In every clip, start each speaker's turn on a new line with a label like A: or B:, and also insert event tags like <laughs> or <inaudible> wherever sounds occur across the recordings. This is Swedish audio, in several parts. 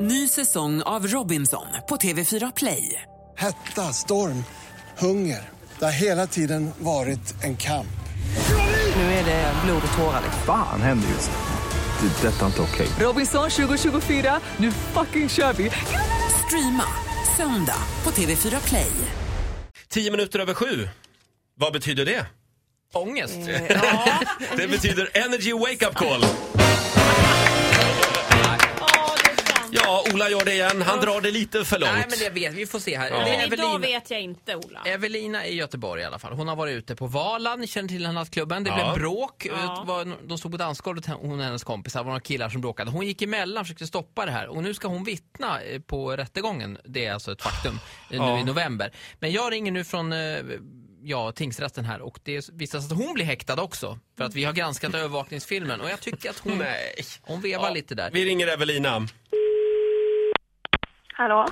A: Ny säsong av Robinson på TV4 Play.
B: Hetta, storm, hunger. Det har hela tiden varit en kamp.
A: Nu är det blod och tårar.
C: Fan händer just nu. Det. är Detta är inte okej.
A: Robinson 2024, nu fucking kör vi! Streama söndag på TV4 Play.
D: Tio minuter över sju. Vad betyder det? Ångest.
E: <laughs>
D: det betyder Energy Wake Up Call. Ja, Ola gör det igen. Han drar det lite för långt.
E: Nej men det vet vi, får se här.
D: Ja.
E: Det är
F: Men
E: Evelina,
F: Idag vet jag inte Ola.
E: Evelina i Göteborg i alla fall. Hon har varit ute på Valan, ni känner till den nattklubben. Det
D: Ja.
E: blev bråk.
F: Ja.
E: Det var- De stod på dansgolvet, hon och hennes kompisar. Det var några killar som bråkade. Hon gick emellan, försökte stoppa det här. Och nu ska hon vittna eh, på rättegången. Det är alltså ett faktum eh, nu
D: Ja.
E: i november. Men jag ringer nu från eh, ja, tingsrätten här och det visar sig att hon blir häktad också. För att vi har granskat <laughs> övervakningsfilmen och jag tycker att hon, hon vevar lite där.
D: Mm. Vi ringer Evelina.
G: Hallå?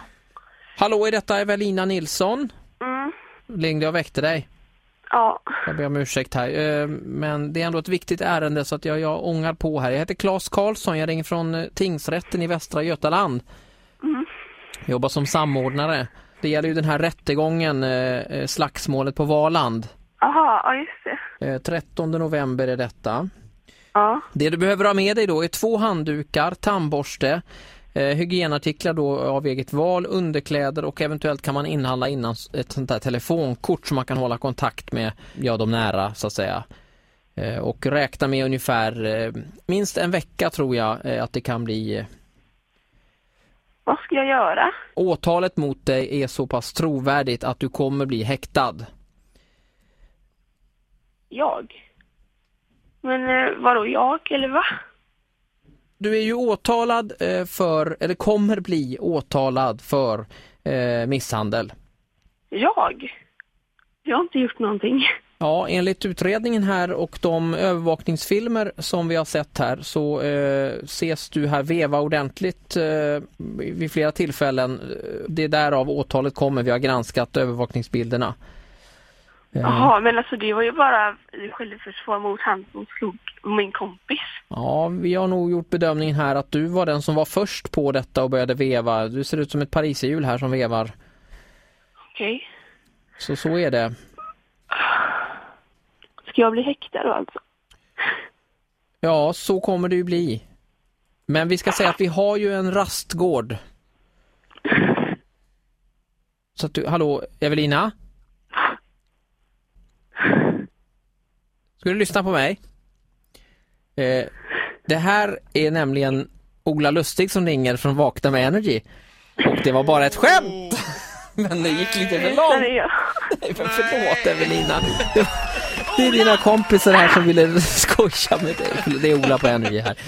E: Hallå, är detta Evelina Nilsson? Mm. Ringde jag och väckte dig?
G: Ja.
E: Jag ber om ursäkt här, eh, men det är ändå ett viktigt ärende så att jag, jag ångar på här. Jag heter Claes Karlsson, jag ringer från eh, tingsrätten i Västra Götaland. Jobbar som samordnare. Det gäller ju den här rättegången, eh, eh, slagsmålet på Valand.
G: Aha, ja just det.
E: Eh, 13 november är detta.
G: Ja.
E: Det du behöver ha med dig då är två handdukar, tandborste, eh, hygienartiklar då av eget val, underkläder och eventuellt kan man inhandla innan s- ett sånt här telefonkort som man kan hålla kontakt med, ja de nära så att säga. Eh, Och räkna med ungefär eh, minst en vecka tror jag eh, att det kan bli. eh,
G: Vad ska jag göra?
E: Åtalet mot dig är så pass trovärdigt att du kommer bli häktad.
G: Jag? Men eh, vadå jag eller va?
E: Du är ju åtalad eh, för, eller kommer bli åtalad för eh, misshandel.
G: Jag? Jag har inte gjort någonting.
E: Ja, enligt utredningen här och de övervakningsfilmer som vi har sett här så eh, ses du här veva ordentligt eh, vid flera tillfällen. Det är därav åtalet kommer. Vi har granskat övervakningsbilderna.
G: Jaha, men alltså det var ju bara självförsvar mot han som slog min kompis.
E: Ja, vi har nog gjort bedömningen här att du var den som var först på detta och började veva. Du ser ut som ett pariserhjul här som vevar.
G: Okej.
E: Så så är det.
G: Ska jag bli häktad då alltså?
E: Ja, så kommer det ju bli. Men vi ska säga att vi har ju en rastgård. Så att du, hallå Evelina? Ska du lyssna på mig? Eh, det här är nämligen Ola Lustig som ringer från Vakna med Energy. Och det var bara ett skämt! <laughs> Men det gick lite för långt.
G: Nej, jag...
E: Nej, men förlåt Evelina. Det är dina kompisar här som ville <laughs> skoja med dig. Det är Ola på Energy här.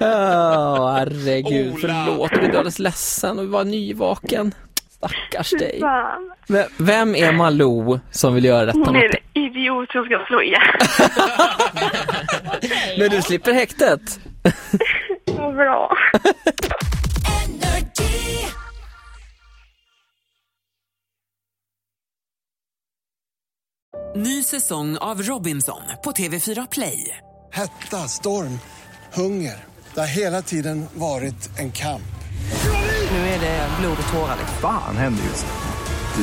E: Åh, herregud.
D: Ola.
E: Förlåt, du blev alldeles ledsen och du var nyvaken. Stackars dig.
G: Fan.
E: V- Vem är Malou som vill göra detta?
G: Hon är
E: mot dig?
G: en idiot som ska slå ihjäl.
E: Men du slipper häktet.
G: <laughs> Vad bra.
A: Ny säsong av Robinson på TV4 Play.
B: Hetta, storm, hunger. Det har hela tiden varit en kamp.
A: Nu är det blod och tårar.
C: Fan händer just nu.